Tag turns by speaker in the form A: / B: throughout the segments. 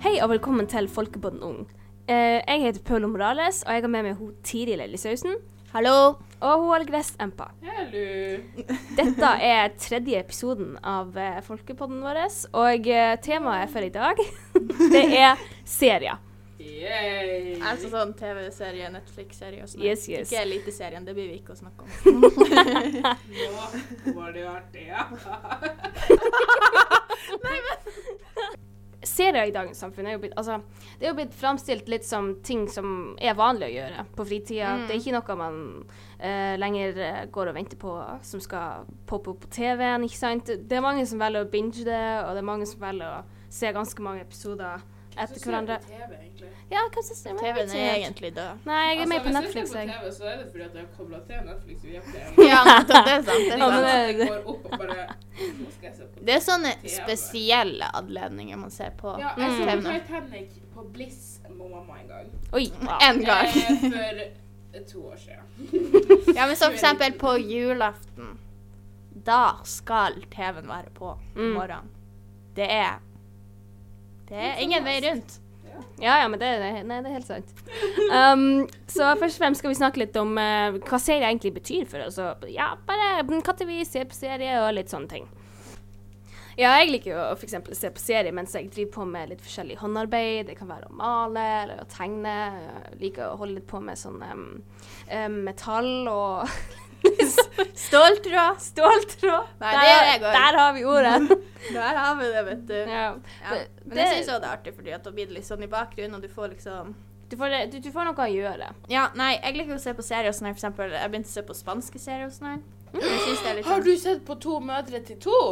A: Hei og velkommen til Folkepodden Ung. Eh, jeg heter Paula Morales, og jeg har med meg hun Tiril Ellisausen. Hallo. Og hun Algress Empa.
B: Hello.
A: Dette er tredje episoden av eh, Folkepodden vår, og eh, temaet for i dag, det er serier.
B: Yay.
C: Altså sånn TV-serie, Netflix-serie og sånn.
A: Yes, yes.
C: Ikke Eliteserien, det blir vi ikke å snakke om.
B: Nå var det artig, ja.
A: Serier i dagens samfunn er jo blitt, altså, det er jo blitt framstilt litt som ting som er vanlig å gjøre på fritida.
C: Mm.
A: Det er ikke noe man eh, lenger eh, går og venter på som skal poppe opp på TV-en, ikke sant. Det er mange som velger å binge det, og det er mange som velger å se ganske mange episoder etter hverandre.
B: TV, egentlig.
A: Ja, hva synes du?
C: TV-en er egentlig død.
A: Nei, jeg er med på Netflix,
B: Hvis Altså,
A: jeg.
B: jeg ser på TV, så er det fordi at jeg har koblet til Netflix via TV.
C: Ja, det er sant. Det
A: Ja,
C: er,
B: Det er
A: men det-
C: sant.
B: ikke sånn at jeg går opp og bare Nå skal jeg se på
C: det er sånne
B: TV.
C: spesielle anledninger man ser på
B: Ja, jeg
A: Mm.
B: så
C: TV nå.
B: Titanic på Bliss med mamma en gang.
A: Oi.
C: En gang.
B: Eh, for to år siden.
C: Ja, men som for eksempel på julaften. Da skal TV-en være på om
A: Mm.
C: morgenen. Det er Det er ingen vei rundt.
A: Ja, ja, men det, er- nei, det er helt sant. Um, så først og fremst skal vi snakke litt om eh, hva serie egentlig betyr for oss. og Ja, bare mm, når vi ser på serie og litt sånne ting. Ja, jeg liker jo å for eksempel se på serie mens jeg driver på med litt forskjellig håndarbeid. Det kan være å male eller å tegne. Jeg liker å holde litt på med sånn em, em, metall og
C: Ståltråd.
A: ståltråd.
C: Nei,
A: der,
C: det gjør
A: har-
C: jeg også.
A: Der har vi ordet.
C: Der har vi det, vet du.
A: ja.
C: Ja. Men jeg syns òg det er artig, fordi at da blir det litt sånn i bakgrunnen, og du får liksom
A: du, får, det- du, du får noe å gjøre.
C: Ja, nei, jeg liker å se på serier og sånn her, for eksempel. Jeg begynte å se på spanske serier og sånn her. Jeg synes det er litt
B: Har
C: sånn
B: du sett på To mødre til to?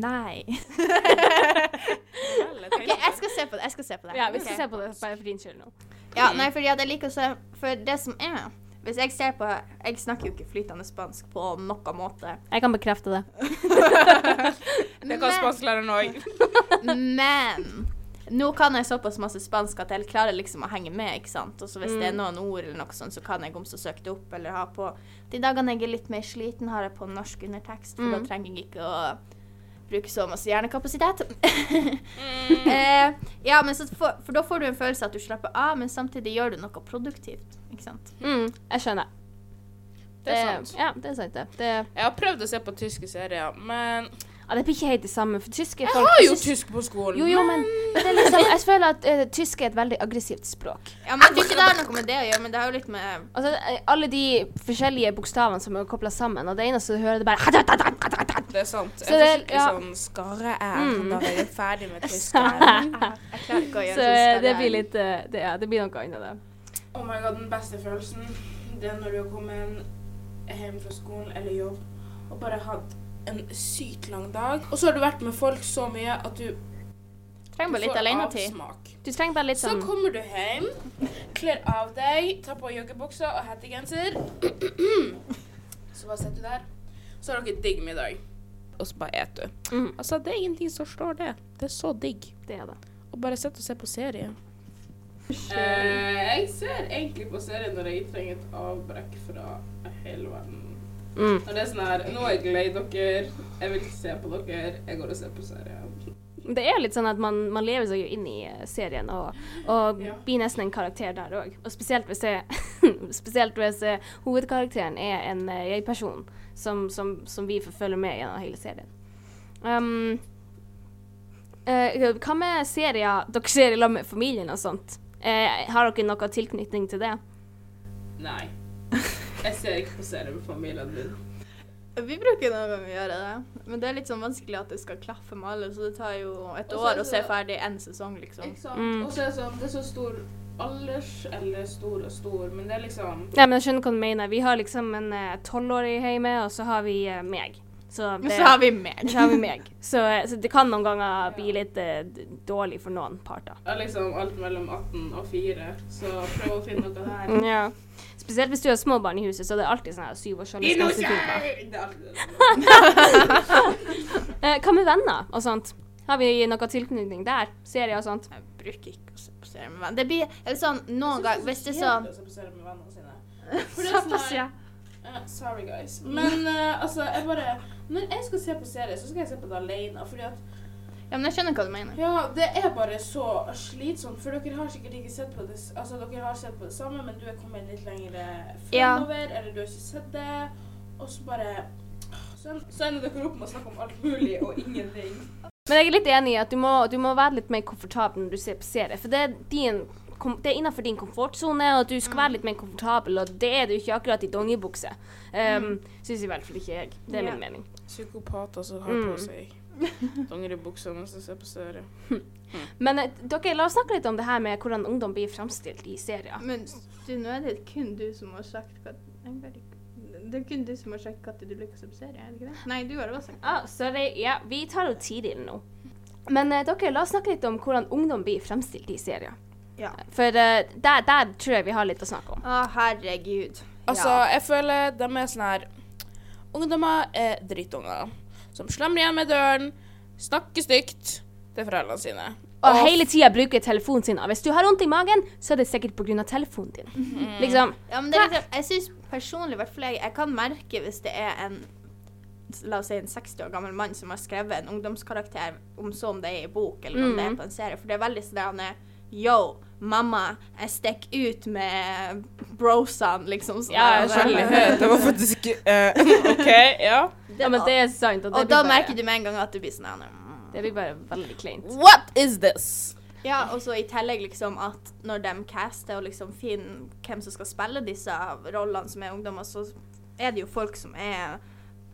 C: Nei. OK, jeg skal se på det. Jeg skal se på det.
A: Ja, vi skal
C: Ok.
A: se på det bare for din skyld nå. Mm.
C: Ja, nei, fordi at jeg liker å se For det som er Hvis jeg ser på Jeg snakker jo ikke flytende spansk på noen måte.
A: Jeg kan bekrefte det.
B: Det kan spansklæreren òg.
C: Men nå kan jeg såpass masse spansk at jeg klarer liksom å henge med, ikke sant. Og så hvis det er noen ord eller noe sånt, så kan jeg om så søke det opp eller ha på De dagene jeg er litt mer sliten, har jeg på norsk undertekst, for da
A: Mm.
C: trenger jeg ikke å bruke så masse hjernekapasitet. eh, ja, men så får, for da får du en følelse at du slapper av, men samtidig gjør du noe produktivt, ikke sant.
A: Mm, jeg skjønner. Eh,
B: Det er sant.
A: Ja, det er sant. Det, det,
B: Jeg har prøvd å se på tyske serier, men
A: ja, det blir ikke helt det samme, for tyske
B: Jeg
A: folk
B: har jo
A: synes-
B: tysk på skolen.
A: Jo, jo, men, men det er liksom, jeg føler at eh, tysk er et veldig aggressivt språk.
C: Ja, men jeg tror ikke det har noe med det å gjøre, men det har jo litt med
A: Altså, eh, Alle de forskjellige bokstavene som er kobla sammen, og det eneste du hører, det er bare
B: Det er sant.
A: Så
B: Jeg får
A: det-
B: skikkelig
A: ja.
B: sånn skarre æ
A: Mm.
B: da er jeg ferdig med
C: Jeg
B: tyskeren.
C: klarer ikke å
A: Så
C: gjøre
A: eh,
C: sånn
A: det blir litt eh, det, ja, det blir noe annet, det.
B: oh my god, den beste følelsen det er når du har kommet hjem fra skolen eller jobb og bare hatt en sykt lang dag, og så har du vært med folk så mye at du,
C: Trenger bare
B: du
C: litt
B: får
C: alenetid.
B: avsmak.
A: Du trenger bare litt
B: Så
A: sånn
B: kommer du hjem, kler av deg, tar på joggebuksa og hettegenser. Så bare sitter du der. Så har dere digg middag. Og så bare et du.
A: mm,
B: Altså, det er ingenting som slår det. Det er så digg.
A: Det er det.
B: Og bare sitte og se på serie. Eh, jeg ser egentlig på serie når jeg trenger et avbrekk fra hele verden.
A: Mm.
B: Når det er sånn her Nå er jeg lei dere. Jeg vil ikke se på dere. Jeg går og ser på serie.
A: Men Det er litt sånn at man, man lever seg jo inn i eh, serien og, og
B: Ja.
A: blir nesten en karakter der òg. Og spesielt hvis, det, spesielt hvis eh, hovedkarakteren er en eh, jeg-person som, som, som vi forfølger med gjennom hele serien. Um, eh, hva med serier dere ser i lag med familien og sånt? Eh, har dere noe tilknytning til det?
B: Nei. Jeg ser ikke på serie med familien min.
C: Vi bruker noen ganger å gjøre det, men det er litt sånn vanskelig at det skal klaffe med alle, så det tar jo et
B: Og så er
C: år
B: det
C: å se
B: så-
C: ferdig én sesong, liksom.
B: Ikke sant?
A: Mm.
B: Og så er det sånn Det er så stor alders Eller stor og stor, men det er liksom
A: Ja, men jeg skjønner hva du mener. Vi har liksom en tolvårig hjemme, og så har vi eh, meg. Så
C: Og
A: det-
C: så har vi mer.
A: Så har vi meg. Så, så det kan noen ganger bli litt eh, d- dårlig for noen parter.
B: er liksom alt mellom 18 og 4, så prøv å finne noe der.
A: Ja. Spesielt hvis du har små barn i huset, så er det alltid sånn her syvårsjalusi.
B: Innocent! Det er alltid det.
A: Eh, hva med venner og sånt? Har vi noe tilknytning der? Serier og sånt?
C: Jeg bruker ikke å se på serier med venner. Det blir eller sånn noen ganger Hvis det er sånn
B: Jeg synes det er så kjedelig å se på serier med vennene sine. For det er sånn her- Eh, sorry, guys. Men eh, altså, jeg bare Når jeg skal se på serie, så skal jeg se på det alene. Fordi at
C: Ja, men jeg skjønner hva du mener.
B: Ja, det er bare så slitsomt, for dere har sikkert ikke sett på det s- Altså, dere har sett på det samme, men du er kommet litt lenger eh,
C: Ja.
B: fremover, eller du har ikke sett det, og så bare Så en- så ender dere opp med å snakke om alt mulig og ingenting.
A: Men jeg er litt enig i at du må, du må være litt mer komfortabel når du ser på serie. For det er, din, kom, det er innenfor din komfortsone, og du skal være litt mer komfortabel, og det er du ikke akkurat i dongeribukse. Um, Syns i hvert fall ikke jeg. Det er
C: Ja.
A: min mening.
B: Psykopater som
A: har på Mm.
B: altså, seg dongeribukser mens de ser på serier.
A: Men eh, dere, la oss snakke litt om det her med hvordan ungdom blir fremstilt i serier.
C: Men du, nå er det kun du som har sagt hva jeg vet ikke. Det er kun du som har sagt når du liker som serie, er det ikke det? Nei, du har også sagt det.
A: Ah, sorry. Ja, vi tar jo tidligere nå. Men eh, dere, la oss snakke litt om hvordan ungdom blir fremstilt i serier.
C: Ja.
A: For eh, der, der tror jeg vi har litt å snakke om.
C: Å, herregud.
B: Altså, jeg føler de er sånn her Ungdommer er drittunger som slemmer igjen med døren, snakker stygt til foreldrene sine.
A: Og hele tida bruker telefonen sin. Og hvis du har vondt i magen, så er det sikkert pga. telefonen din.
C: Mhm.
A: Liksom.
C: Ja, men det er liksom, jeg synes personlig, i hvert fall jeg, jeg kan merke hvis det er en La oss si en 60 år gammel mann som har skrevet en ungdomskarakter, om så om det er i bok eller om det er på
A: Mm.
C: en serie. For det er veldig sånn der han er Yo, mamma, jeg stikker ut med brosene, liksom. Sånn
A: Ja, jeg
C: der.
A: skjønner.
B: Det var faktisk ikke
C: eh,
B: OK, ja.
A: Ja, men det er sant. Og, det
C: Og
A: blir
C: da
A: bare-
C: merker du med en gang at du blir sånn her, mm.
A: Det blir bare veldig kleint.
B: What is this?
C: Ja, og så i tillegg liksom at når de caster og liksom finner hvem som skal spille disse rollene som er ungdommer, så er det jo folk som er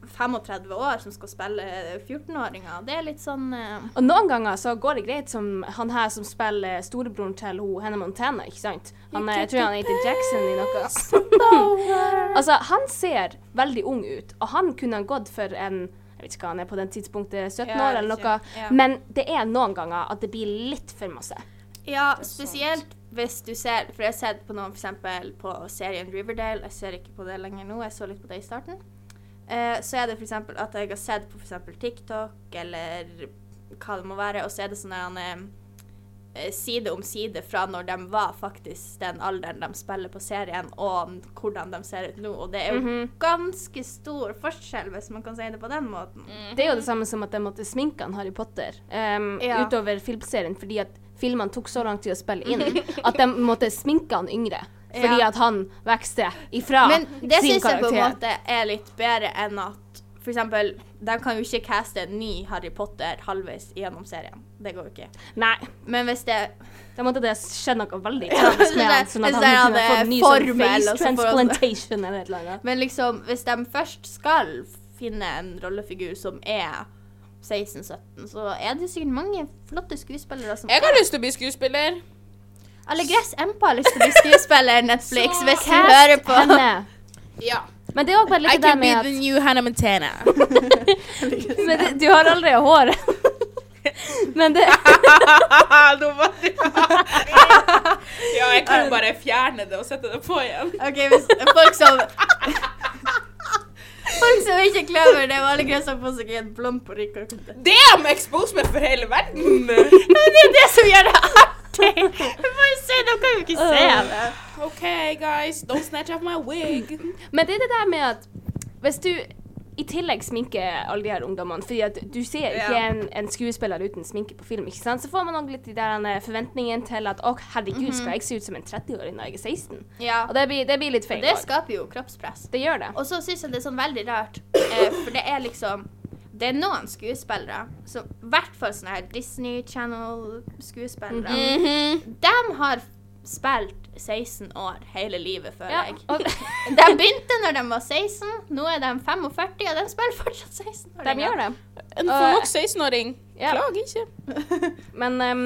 C: 35 år som skal spille 14-åringer. Det er litt sånn eh,
A: Og noen ganger så går det greit, som han her som spiller storebroren til ho, Hannah Montana, ikke sant? Han, er- jeg tror han heter Jackson i noe. Altså, han ser veldig ung ut, og han kunne han gått for en jeg vet ikke hva han er på den tidspunktet, 17
C: Ja,
A: år eller
C: jeg vet
A: noe.
C: ikke. Ja.
A: Men det er noen ganger at det blir litt for masse.
C: Ja, spesielt hvis du ser For jeg har sett på noen f.eks. på serien Riverdale. Jeg ser ikke på det lenger nå, jeg så litt på det i starten. Eh, så er det f.eks. at jeg har sett på for eksempel TikTok eller hva det må være, og så er det sånn en eh, side om side fra når de var faktisk den alderen de spiller på serien, og n- hvordan de ser ut nå. Og det er jo ganske stor forskjell, hvis man kan si det på den måten.
A: Det er jo det samme som at de måtte sminke han Harry Potter ehm,
C: Ja.
A: utover filmserien fordi at filmene tok så lang tid å spille inn at de måtte sminke han yngre. Fordi
C: Ja.
A: at han vokste ifra
C: Men det
A: sin
C: syns jeg på en
A: karakter.
C: måte er litt bedre enn at for eksempel, de kan jo ikke caste en ny Harry Potter halvveis gjennom serien. Det går jo ikke.
A: Nei.
C: Men hvis det
A: Da måtte det skjedd noe veldig
C: Ja,
A: tragisk med han, sånn at
C: hvis
A: han
C: han
A: kunne
C: hadde
A: fått ny sånn
C: formel,
A: face
C: og så får han-
A: transplantation eller et eller annet.
C: Men liksom, hvis de først skal finne en rollefigur som er 16-17, så er det sikkert mange flotte skuespillere som
B: Jeg har lyst til å bli skuespiller.
C: Alle Gress Empa har lyst til å bli skuespiller, Netflix,
B: Så-
C: hvis du hører på.
A: Henne.
B: Ja.
A: Men det er også bare litt det der med at
B: new Hannah Montana.
A: men det, Du har aldri hår. men det
B: Nå var det- ja, jeg kan jo bare fjerne det og sette det på igjen.
C: OK, hvis folk som Folk som ikke er klar over det, og alle Gress har på seg en blond parykk og kutte.
B: Damn, expose meg for hele verden!
C: Det er det som gjør det artig! Vi får jo se, da kan vi ikke se det.
B: OK, guys, don't snatch off my wig.
A: Men det er det der med at hvis du i tillegg sminker alle de her ungdommene, fordi at du ser ikke
C: Ja.
A: en, en skuespiller uten sminke på film, ikke sant? så får man også litt de der eh, forventningene til at å, herregud, skal jeg se ut som en 30-åring når jeg er 16?
C: Mhm. Ja,
A: Og det blir, det blir litt feil.
C: det
A: også.
C: skaper jo kroppspress.
A: det gjør det.
C: Og så syns jeg det er sånn veldig rart, eh, for det er liksom Det er noen skuespillere, som i hvert fall sånne her Disney Channel-skuespillere,
A: Mhm.
C: de har spilt 16 år hele livet, føler
A: Ja,
C: jeg.
A: og
C: De begynte når de var 16, nå er de 45, og de spiller fortsatt 16 år.
A: de gjør det.
B: En
A: for nok
B: 16-åring.
A: Ja.
B: Klag ikke.
A: Men ehm,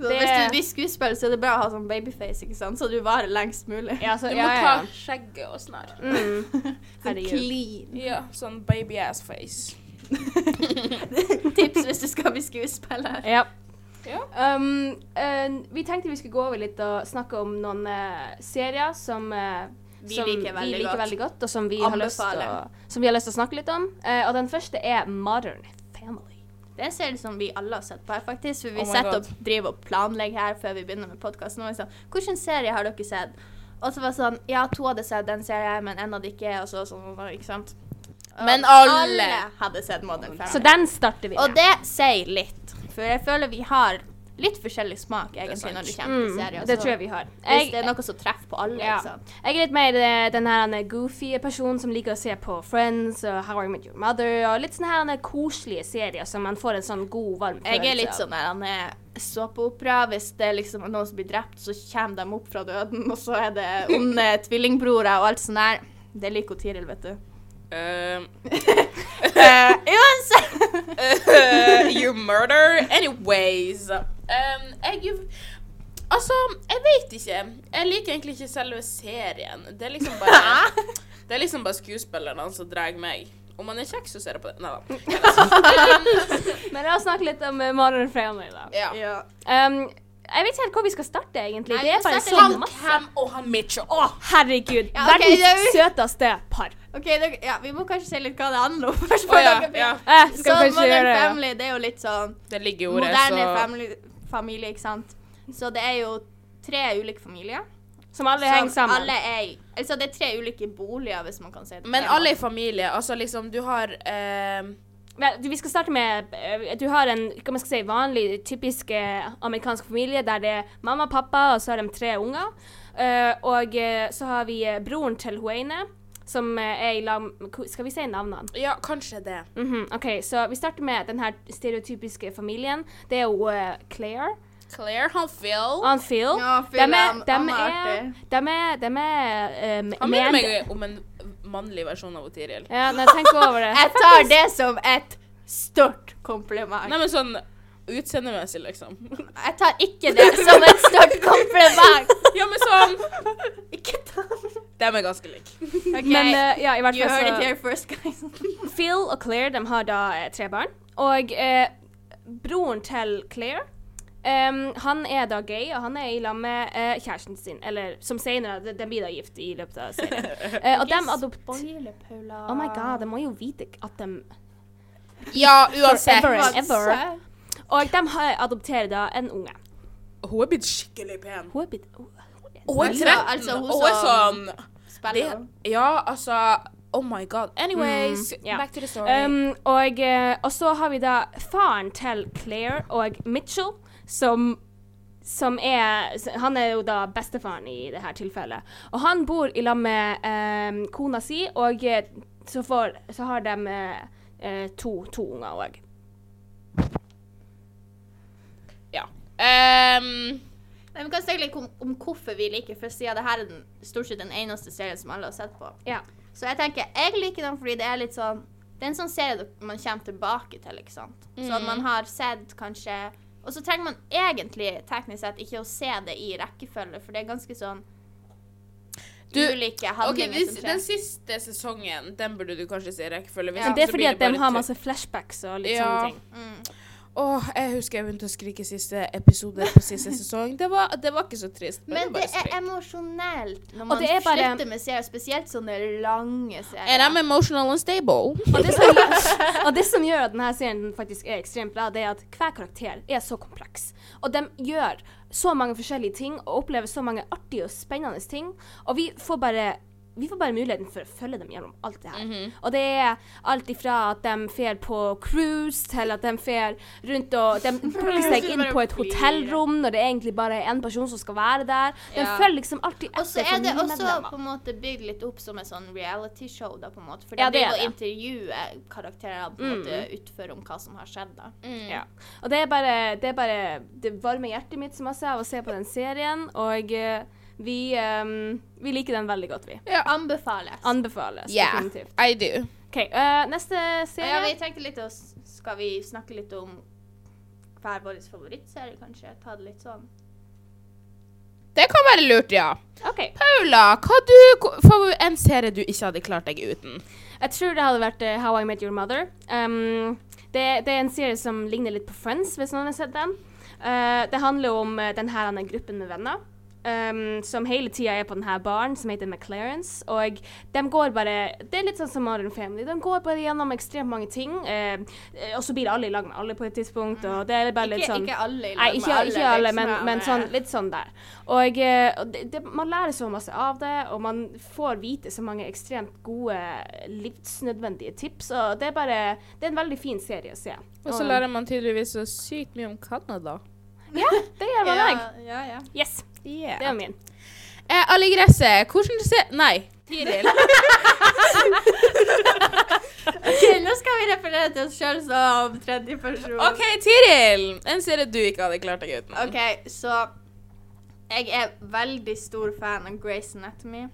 C: Så
A: det
C: Hvis du blir skuespiller, så er det bra å ha sånn babyface, ikke sant? så du varer lengst mulig.
A: ja, så,
B: Du
A: ja, ja,
B: må ta
A: ja.
B: skjegget og snart.
A: Mm. Herregud.
C: Clean.
B: Ja, sånn baby ass face.
C: Tips hvis du skal bli skuespiller.
A: Ja.
B: Ja.
A: Um, eh, vi tenkte vi skulle gå over litt og snakke om noen eh, serier som, eh,
C: Vi
A: som
C: liker veldig
A: vi liker
C: godt.
A: veldig godt, og som vi, har lyst til å,
C: Anbefaler.
A: som vi har lyst til å snakke litt om. Eh, og den første er Modern Family.
C: Det ser ut som vi alle har sett på her, faktisk. For vi
B: Oh my
C: setter
B: God.
C: opp, driver og planlegger her før vi begynner med podkasten. Og sånn, hvilken serie har dere sett? Og så var det sånn Ja, to hadde sett den serien, men en hadde ikke. Og så sånn, og sånn, ikke sant? Og
B: Men alle-
C: hadde sett Modern
A: Så
C: Family.
A: den starter vi
C: Og
A: med.
C: det sier litt. For jeg føler vi har litt forskjellig smak egentlig
B: sant.
C: når det kommer til
A: Mm,
C: serier.
A: det
C: så
A: tror jeg vi har.
C: Hvis det
A: Jeg,
C: er noe som treffer på alle,
A: Ja.
C: ikke sant.
A: jeg er litt mer eh, den her eh, goofy personen som liker å se på Friends og How I Met Your Mother og litt sånne her eh, koselige serier som man får en sånn god, varm følelse
C: Jeg er litt
A: av.
C: sånn der han er såpeopera. Hvis det er liksom noen som blir drept, så kommer de opp fra døden, og så er det onde tvillingbrorer og alt sånt der. Det liker jo Tiril, vet du.
B: Um,
C: Eh, uansett!
B: you murder Anyways um, Jeg Altså, jeg vet ikke Jeg liker egentlig ikke selve serien Det er liksom bare Det er liksom bare skuespillerne som drar meg Om man er kjekk så ser jeg på det Neida
A: Men la oss snakke litt om uh, Marion Freyanøy, da.
B: Ja
C: ja.
A: Um, jeg vet ikke helt hvor vi skal starte, egentlig.
C: Nei,
A: det er
C: vi
A: bare
C: starter
A: sånn
B: Han
A: masse.
B: Cam og han Mitchell Åh
A: Herregud.
C: Ja, ok,
A: Verdens
C: det
A: søteste par.
C: OK, dere, ja, vi må kanskje si litt hva det handler om først.
B: Å ja,
C: dere-
B: ja.
A: Eh,
C: Så
A: skal vi kanskje
C: Modern
A: gjøre det?
C: Family, det er jo litt sånn
B: Det ligger i ordet
C: moderne
B: så
C: family, familie, ikke sant. Så det er jo tre ulike familier.
A: Som alle
C: som
A: henger sammen.
C: Alle er, i- altså det er tre ulike boliger, hvis man kan si det. på
B: Men
C: den
B: alle i familie Altså liksom du har ehm,
A: Men Vi skal starte med eh, Du har en hva man skal si, vanlig, typisk eh, amerikansk familie der det er mamma, pappa, og så har de tre unger. Eh, og eh, så har vi eh, broren til Huene, som eh, er i lag med- hvor- Skal vi si navnene?
B: Ja, kanskje det
A: Mhm, OK, så vi starter med den her stereotypiske familien. Det er jo eh, Claire.
B: Claire, han Phil
A: Han Phil.
C: Ja, Phil,
A: dem er,
C: han-
A: dem
C: han er
A: er,
C: artig.
A: dem er, dem er um,
B: Han minner meg om en mannlig versjon av Tiril
A: Ja, nei, tenk over det.
C: måten. Jeg tar det som et stort kompliment.
B: Nei, men sånn utseendemessig, liksom.
C: Jeg tar ikke det som et stort kompliment.
B: Ja, men sånn
C: Ikke ta
B: Dem er ganske like.
C: okay.
A: Men eh, ja, i hvert
C: You heard it
A: fall
C: here first, guys.
A: så Phil og Claire de har da eh, tre barn. Og eh, broren til Claire em, han er da gay, og han er i lag med eh, kjæresten sin. Eller som senere, de, de blir da gift i løpet av serien. Eh, og de adopterer
C: Paula.
A: Oh my god, de må jo vite at de
B: Ja,
A: Forever.
B: uansett.
A: Ever. Og de har- adopterer da en unge.
B: Hun er blitt skikkelig pen.
A: Hun er blitt
B: Hun er
C: Altså,
B: 13,
C: altså, hun
B: og hun er sånn
C: som-
B: det,
C: Spiller.
B: Ja, altså Oh my god. Anyways,
A: Mm, ja.
B: back to the story.
A: Um, og, eh, og så har vi da faren til Claire og Mitchell, som, som er s- Han er jo da bestefaren i det her tilfellet. Og han bor i lag med em, kona si, og eh, så, får, så har de eh, eh, to, to unger òg.
B: ja. Ehm,
C: Nei, vi kan snakke litt om, om hvorfor vi liker for siden det her er den, stort sett den eneste serien som alle har sett på.
A: Ja.
C: Så jeg tenker, jeg liker den fordi det er litt sånn Det er en sånn serie dok- man kommer tilbake til, ikke sant. Så at man har sett kanskje Og så trenger man egentlig teknisk sett ikke å se det i rekkefølge, for det er ganske sånn
B: Du,
C: ulike
B: OK,
C: handlinger
B: hvis,
C: som skjer.
B: den siste sesongen, den burde du kanskje se i rekkefølge. hvis
C: Ja.
B: ikke
A: Det er
B: så
A: fordi
B: blir
A: at de
B: bare
A: har
B: tull.
A: masse flashbacks og litt
B: Ja.
A: sånne ting.
C: Mm.
B: Åh, jeg husker jeg begynte å skrike siste episode på siste sesong. Det var, det var ikke så trist.
C: Men
B: var
C: det
B: bare
C: er
B: skrik.
C: emosjonelt når
A: Og
C: man
A: det er bare-
C: slutter med serier, spesielt sånne lange
B: And I'm
C: serier.
B: emotional unstable.
A: Og det, som, og det som gjør at denne serien faktisk er ekstremt bra, det er at hver karakter er så kompleks. Og de gjør så mange forskjellige ting og opplever så mange artige og spennende ting. Og vi får bare vi får bare muligheten for å følge dem gjennom alt det her.
C: Mhm.
A: Og det er alt ifra at de fer på cruise, til at de fer rundt og De plukker seg inn på et hotellrom når det egentlig bare er én person som skal være der. De
C: Ja.
A: følger liksom alltid
C: Og så
A: etter for
C: er det
A: nye
C: også
A: medlemmer.
C: på en måte bygd litt opp som et sånn realityshow, da, på en måte. For
A: Ja,
C: det
A: det
C: Mm. er
A: er
C: å intervjue karakterene på en måte utføre om hva som har skjedd, da.
A: Ja. Og det er bare det, er bare, det varmer hjertet mitt så masse av å se på den serien, og eh, vi, ehm, vi liker den veldig godt, vi.
C: Anbefales.
A: Anbefales
B: Yeah,
A: definitivt.
B: I do.
A: OK, eh, neste
C: ja,
A: serie.
C: vi tenkte litt å s- Skal vi snakke litt om hver vår favorittserie, kanskje? Ta det litt sånn.
B: Det kan være lurt, ja.
A: OK.
B: Paula, hva du, hva- favor- en serie du ikke hadde klart deg uten?
A: Jeg tror det hadde vært eh, How I Met Your Mother. Ehm, det, det er en serie som ligner litt på Friends, hvis noen har sett den. Eh, det handler om eh, den her han er gruppen med venner. um, som hele tida er på denne baren, som heter McLarence. Og de går bare Det er litt sånn som Modern Family. De går bare gjennom ekstremt mange ting. eh, og så blir alle i lag med alle på et tidspunkt, og det er bare litt
C: Ikke,
A: sånn
C: ikke alle i lag
A: Nei,
C: med
A: ikke, ikke alle,
C: liksom,
A: men, men sånn, litt sånn der. Og, eh, og det, det, man lærer så masse av det, og man får vite så mange ekstremt gode livsnødvendige tips, og det er bare Det er en veldig fin serie å se.
B: Og så lærer man tydeligvis så sykt mye om Canada.
A: Ja, det gjør man
C: ja,
A: òg.
C: ja, ja.
A: Yes. Det er min.
B: Eh, alle i gresset, hvordan ser Nei, Tiril.
C: Ok, nå skal vi referere til oss sjøl som tredje person.
B: OK, Tiril! En serie du ikke hadde klart deg uten.
C: OK, så jeg er veldig stor fan av Grace Anatomy.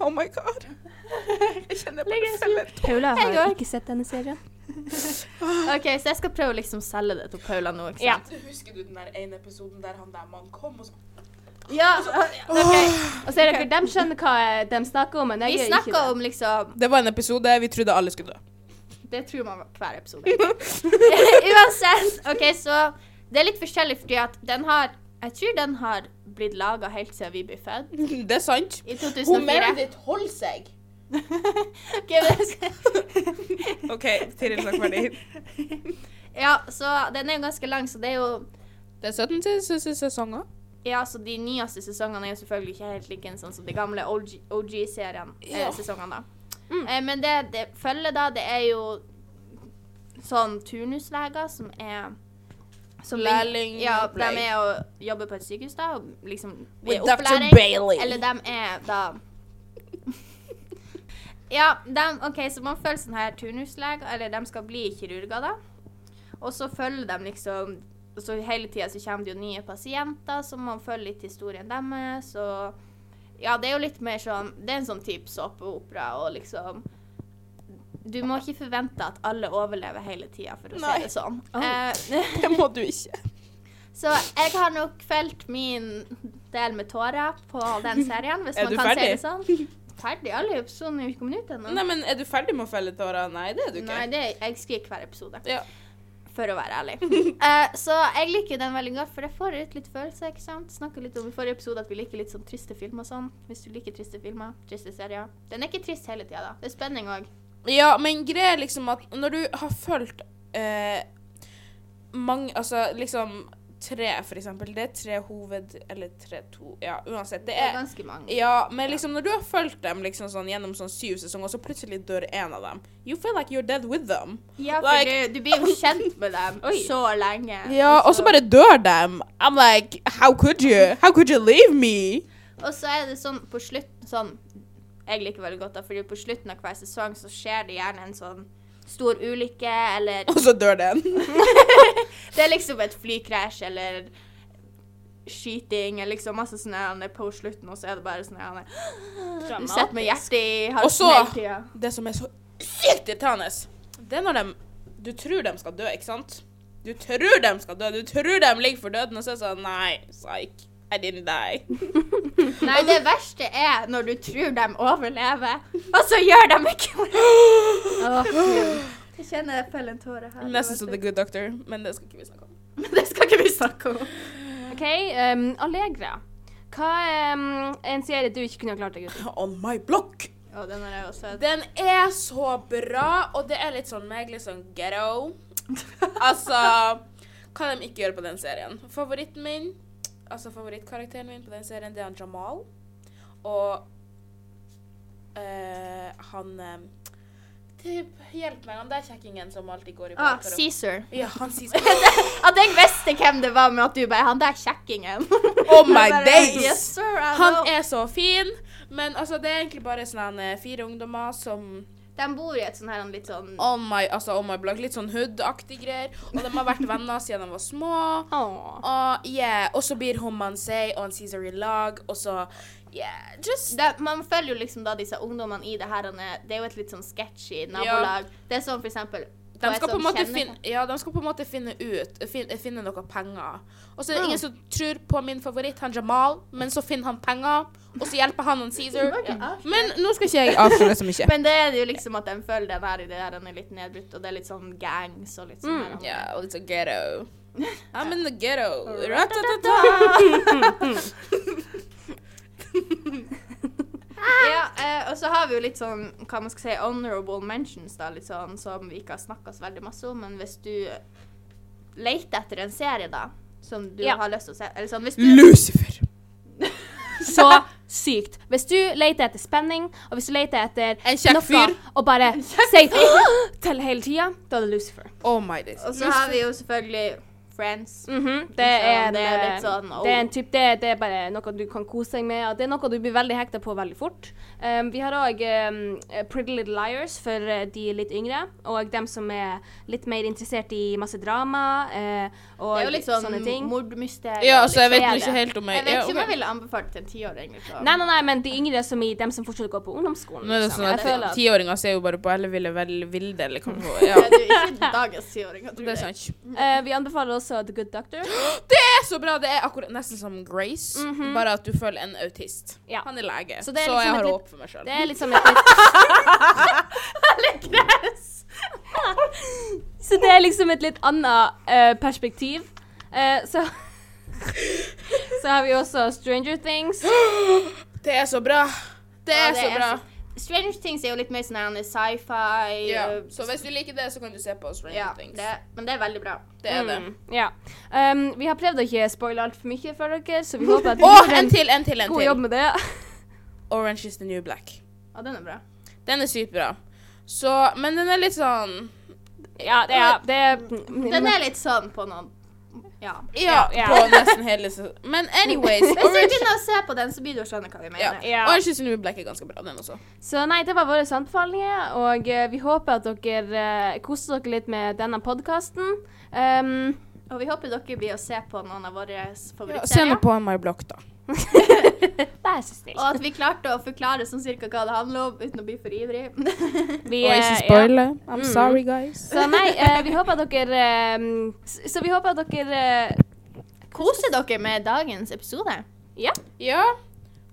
B: Oh my god. Jeg kjenner bare selv en
A: Paula
C: Jeg
A: har
C: går.
A: ikke sett denne serien.
C: Ok, Så jeg skal prøve å liksom selge det til Paula nå. ikke sant?
B: Husker du den der ene episoden der han der mannen kom og
C: Ja. ok.
A: Og så er det de skjønner hva eh, de snakker om, men jeg
C: Vi
A: gjør ikke
C: snakker
A: det.
C: om liksom
B: Det var en episode vi trodde alle skulle dø.
C: Det tror man var hver episode. Uansett. OK, så det er litt forskjellig fordi at den har Jeg tror den har blitt laga helt siden vi ble født.
B: Det er sant.
C: I 2004.
B: ditt holder seg.
C: Ok, men jeg skal-
B: OK, Tiril snakk ferdig.
C: ja, så den er jo ganske lang, så det er jo
B: Det er 17 ses- ses- sesonger.
C: Ja, så de nyeste sesongene er jo selvfølgelig ikke helt like sånn som de gamle OG-seriene.
B: Ja.
C: eh, sesongene da.
A: Mm.
C: Eh, men det det følger da, det er jo sånn turnusleger som er som ligger-
B: Lærling
C: Ja, de
B: opplegg.
C: er og jobber på et sykehus da, og liksom
B: With
C: er
B: Dr.
C: opplæring.
B: Bailey.
C: Eller de er da Ja, dem- OK, så man følger sånn her turnusleger, eller de skal bli kirurger, da. Og så følger de liksom så Hele tida så kommer det jo nye pasienter, så man følger litt historien deres. Og ja, det er jo litt mer sånn Det er en sånn type såpeopera og liksom Du må ikke forvente at alle overlever hele tida, for å
B: Nei.
C: si det sånn.
A: Oh.
C: Eh,
B: Det må du ikke.
C: så jeg har nok felt min del med tårer på den serien, hvis
B: Er
C: man
B: du
C: kan
B: ferdig?
C: si det sånn. Ferdig? Alle episodene er jo ikke kommet ut ennå.
B: Nei, men Er du ferdig med å felle tårer? Nei, det er du ikke.
C: Nei, det er, jeg skriker hver episode.
B: Ja.
C: For å være ærlig. Eh, så jeg liker den veldig godt, for jeg får ut litt følelser. ikke sant? Snakket litt om i forrige episode at vi liker litt sånn triste filmer og sånn. Hvis du liker triste filmer, triste serier. Den er ikke trist hele tida, da. Det er spenning òg.
B: Ja, men greia er liksom at når du har fulgt eh, mange Altså liksom tre, for eksempel. Det er tre hoved... Eller tre, to Ja, uansett. Det
C: Det er
B: er
C: ganske mange.
B: ja, men liksom når du har fulgt dem liksom sånn gjennom sånn syv sesonger, og så plutselig dør en av dem You feel like you're dead with them.
C: Ja, for
B: Like-
C: du, du blir jo kjent med dem
A: Oi.
C: så lenge.
B: Ja, og så bare dør dem. I'm like How could you? How could you leave me?
C: Og så er det sånn på slutten sånn, Jeg liker veldig godt da, fordi på slutten av hver sesong så skjer det gjerne en sånn stor ulykke, eller
B: Og så dør den.
C: Det er liksom et flykrasj eller skyting eller liksom masse sånn her, det er på slutten, og så er det bare sånn her, Du sitter med hjertet i
B: Og
C: halsen
B: så
C: hele tida.
B: Det som er så sykt irriterende, det er når de Du tror de skal dø, ikke sant? Du tror de skal dø, du tror de ligger for døden, og så er det sånn Nei, psyk. I didn't die.
C: Nei, det verste er når du tror de overlever, og så gjør de ikke det. Jeg kjenner jeg feller en tåre her.
B: Nesten som The Good Doctor, men det skal ikke vi snakke om.
C: Men det skal ikke vi snakke om.
A: OK, um, Allegra. Hva er um, en serie du ikke kunne ha klart deg uten?
B: On my block!
C: Å, den har jeg også
B: Den er så bra, og det er litt sånn meg, litt sånn ghetto. Altså Hva de ikke gjør på den serien. Favoritten min, altså favorittkarakteren min på den serien, det er han Jamal. Og eh, han eh, typ, Hjelp meg, han der kjekkingen som alltid går i
C: Ah,
B: bakgrunnen.
C: Caesar.
B: Ja, han sier
C: At jeg visste hvem det var med at du bare Han der kjekkingen.
B: Oh my
C: Jeg bare, Yes,
B: days!
C: sir, I
B: Han
C: know.
B: er så fin, men altså, det er egentlig bare sånn eh, fire ungdommer som
C: De bor i et sånn her en litt sånn
B: Oh my, altså, oh my blog, litt sånn hood-aktig greier. Og de har vært venner siden de var små.
A: Åh.
B: Og yeah, og så blir hun Mansei og han Cæsar i lag, og så yeah, just
C: de, Man følger jo liksom da disse ungdommene i det her han er- Det er jo et litt sånn sketchy nabolag. Det er sånn for eksempel
B: de
C: et
B: skal, på
C: sånn
B: en måte
C: kjenne-
B: finne, ja, de skal på en måte finne ut fin, Finne noe penger. Og så er det
C: Ah.
A: Mm.
B: ingen som tror på min favoritt, han Jamal, men så finner han penger, og så hjelper han han Cæsar. Ja. Men nå skal ikke jeg avsløre så mye.
C: Men det er jo liksom at de følger den her i det her han er litt nedbrutt, og det er litt sånn gangs og litt sånn her. han-
B: Mm, Ja, og litt sånn ghetto. I'm in the ghetto. Ratatata.
C: Ja, eh, og så har vi jo litt sånn hva man skal si, honorable mentions, da, litt sånn som vi ikke har snakka så veldig masse om. Men hvis du leter etter en serie, da, som du
A: Ja.
C: har lyst til å se Eller sånn hvis du
B: Lucifer.
A: Så sykt. Hvis du leter etter spenning, og hvis du leter etter
B: En kjekk fyr.
A: og bare sier «Åh!» til hele tida, da er det Lucifer.
B: Oh my days.
C: Og så har vi jo selvfølgelig Friends.
A: Mhm, Det
C: Liksom,
A: er en,
C: det er
A: eh,
C: litt sånn, oh.
A: det er en typ, det, det er bare noe du kan kose deg med. og Det er noe du blir veldig hekta på veldig fort. Um, vi har òg um, Pretty Little Liars for eh, de litt yngre, og dem som er litt mer interessert i masse drama eh, og
C: Det er jo litt sånn
A: sånne ting.
C: mordmysterier.
B: Ja, altså, jeg
A: Litt
B: vet jo
A: kjede.
B: ikke helt om jeg
C: Jeg vet
B: ja,
C: ikke om jeg
B: ok.
C: ville anbefalt det til en tiåring. Liksom.
A: Nei, nei, nei, men de yngre som i dem som fortsatt går på ungdomsskolen.
B: Nå er det
A: liksom.
B: sånn
A: Jeg føler
B: at
A: at
B: Tiåringer ser jo bare på Elle ville vel vilde, eller hva det var.
C: Ja,
B: Ja.
C: du er ikke dagens tiåring.
B: Det er sant.
A: eh, Vi anbefaler også The Good Doctor.
B: Det er så bra! Det er akkurat nesten som Grace, bare at du føler en autist.
A: Mhm. Ja.
B: Han er lege,
A: Så
B: så,
A: det er liksom
B: jeg
A: et
B: har
A: litt-
B: håp for meg sjøl.
A: Det er litt som et litt, Så det er liksom et litt annet eh, perspektiv. Eh, så Så har vi også Stranger Things.
B: Det er så bra. Det
C: Ja,
B: er
C: det
B: så
C: er
B: bra.
C: Stranger Things er jo litt mer sånn her, sci-fi.
B: Ja.
C: øh,
B: Så hvis du liker det, så kan du se på Stranger
C: ja,
B: Things.
C: det, men det er veldig bra.
B: Det er det.
A: Mm, ja. Um, vi har prøvd å ikke spoile altfor mye for dere, så vi håper at vi
B: Og
A: gjorde
B: en
A: en
B: til, en til, en
A: god jobb
B: til.
A: med det.
B: Orange is the new black.
C: Ja, den er bra.
B: Den er sykt bra. Så Men den er litt sånn
A: Ja, det er, det er
C: Den er litt sånn på noen Ja.
B: Ja,
A: Ja.
B: på nesten hele sesongen. Men anyways
C: Hvis du
B: Orange,
C: begynner å se på den, så blir du å skjønne hva vi
B: ja.
C: mener.
A: Ja.
B: Orange is the new black er ganske bra, den også.
A: Så nei, det var våre anbefalinger, og eh, vi håper at dere uh, koser dere litt med denne podkasten. Um,
C: Og vi håper dere blir å se på noen av våre
B: Send
C: favorittserier.
B: det på My Block, da.
A: vær så snill.
C: Og at vi klarte å forklare sånn cirka hva det handler om, uten å bli for ivrig.
A: Vi,
B: Og
A: eh,
B: ikke
A: ja.
B: spoile. I'm sorry, guys.
A: Så nei, eh, vi håper at dere eh, s- Så vi håper at dere eh,
C: Koser dere med dagens episode?
A: Ja.
B: Ja.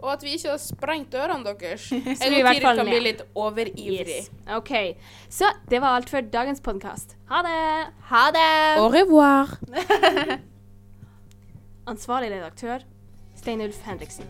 B: Og at vi ikke har sprengt ørene deres. Jeg
A: vi i
B: og
A: hvert
B: Tiril
A: fall
B: kan bli
A: ned.
B: litt overivrig.
A: OK. Så det var alt for dagens podkast. Ha det!
C: Ha det!
B: Au revoir.
A: Ansvarlig redaktør, Steinulf Henriksen.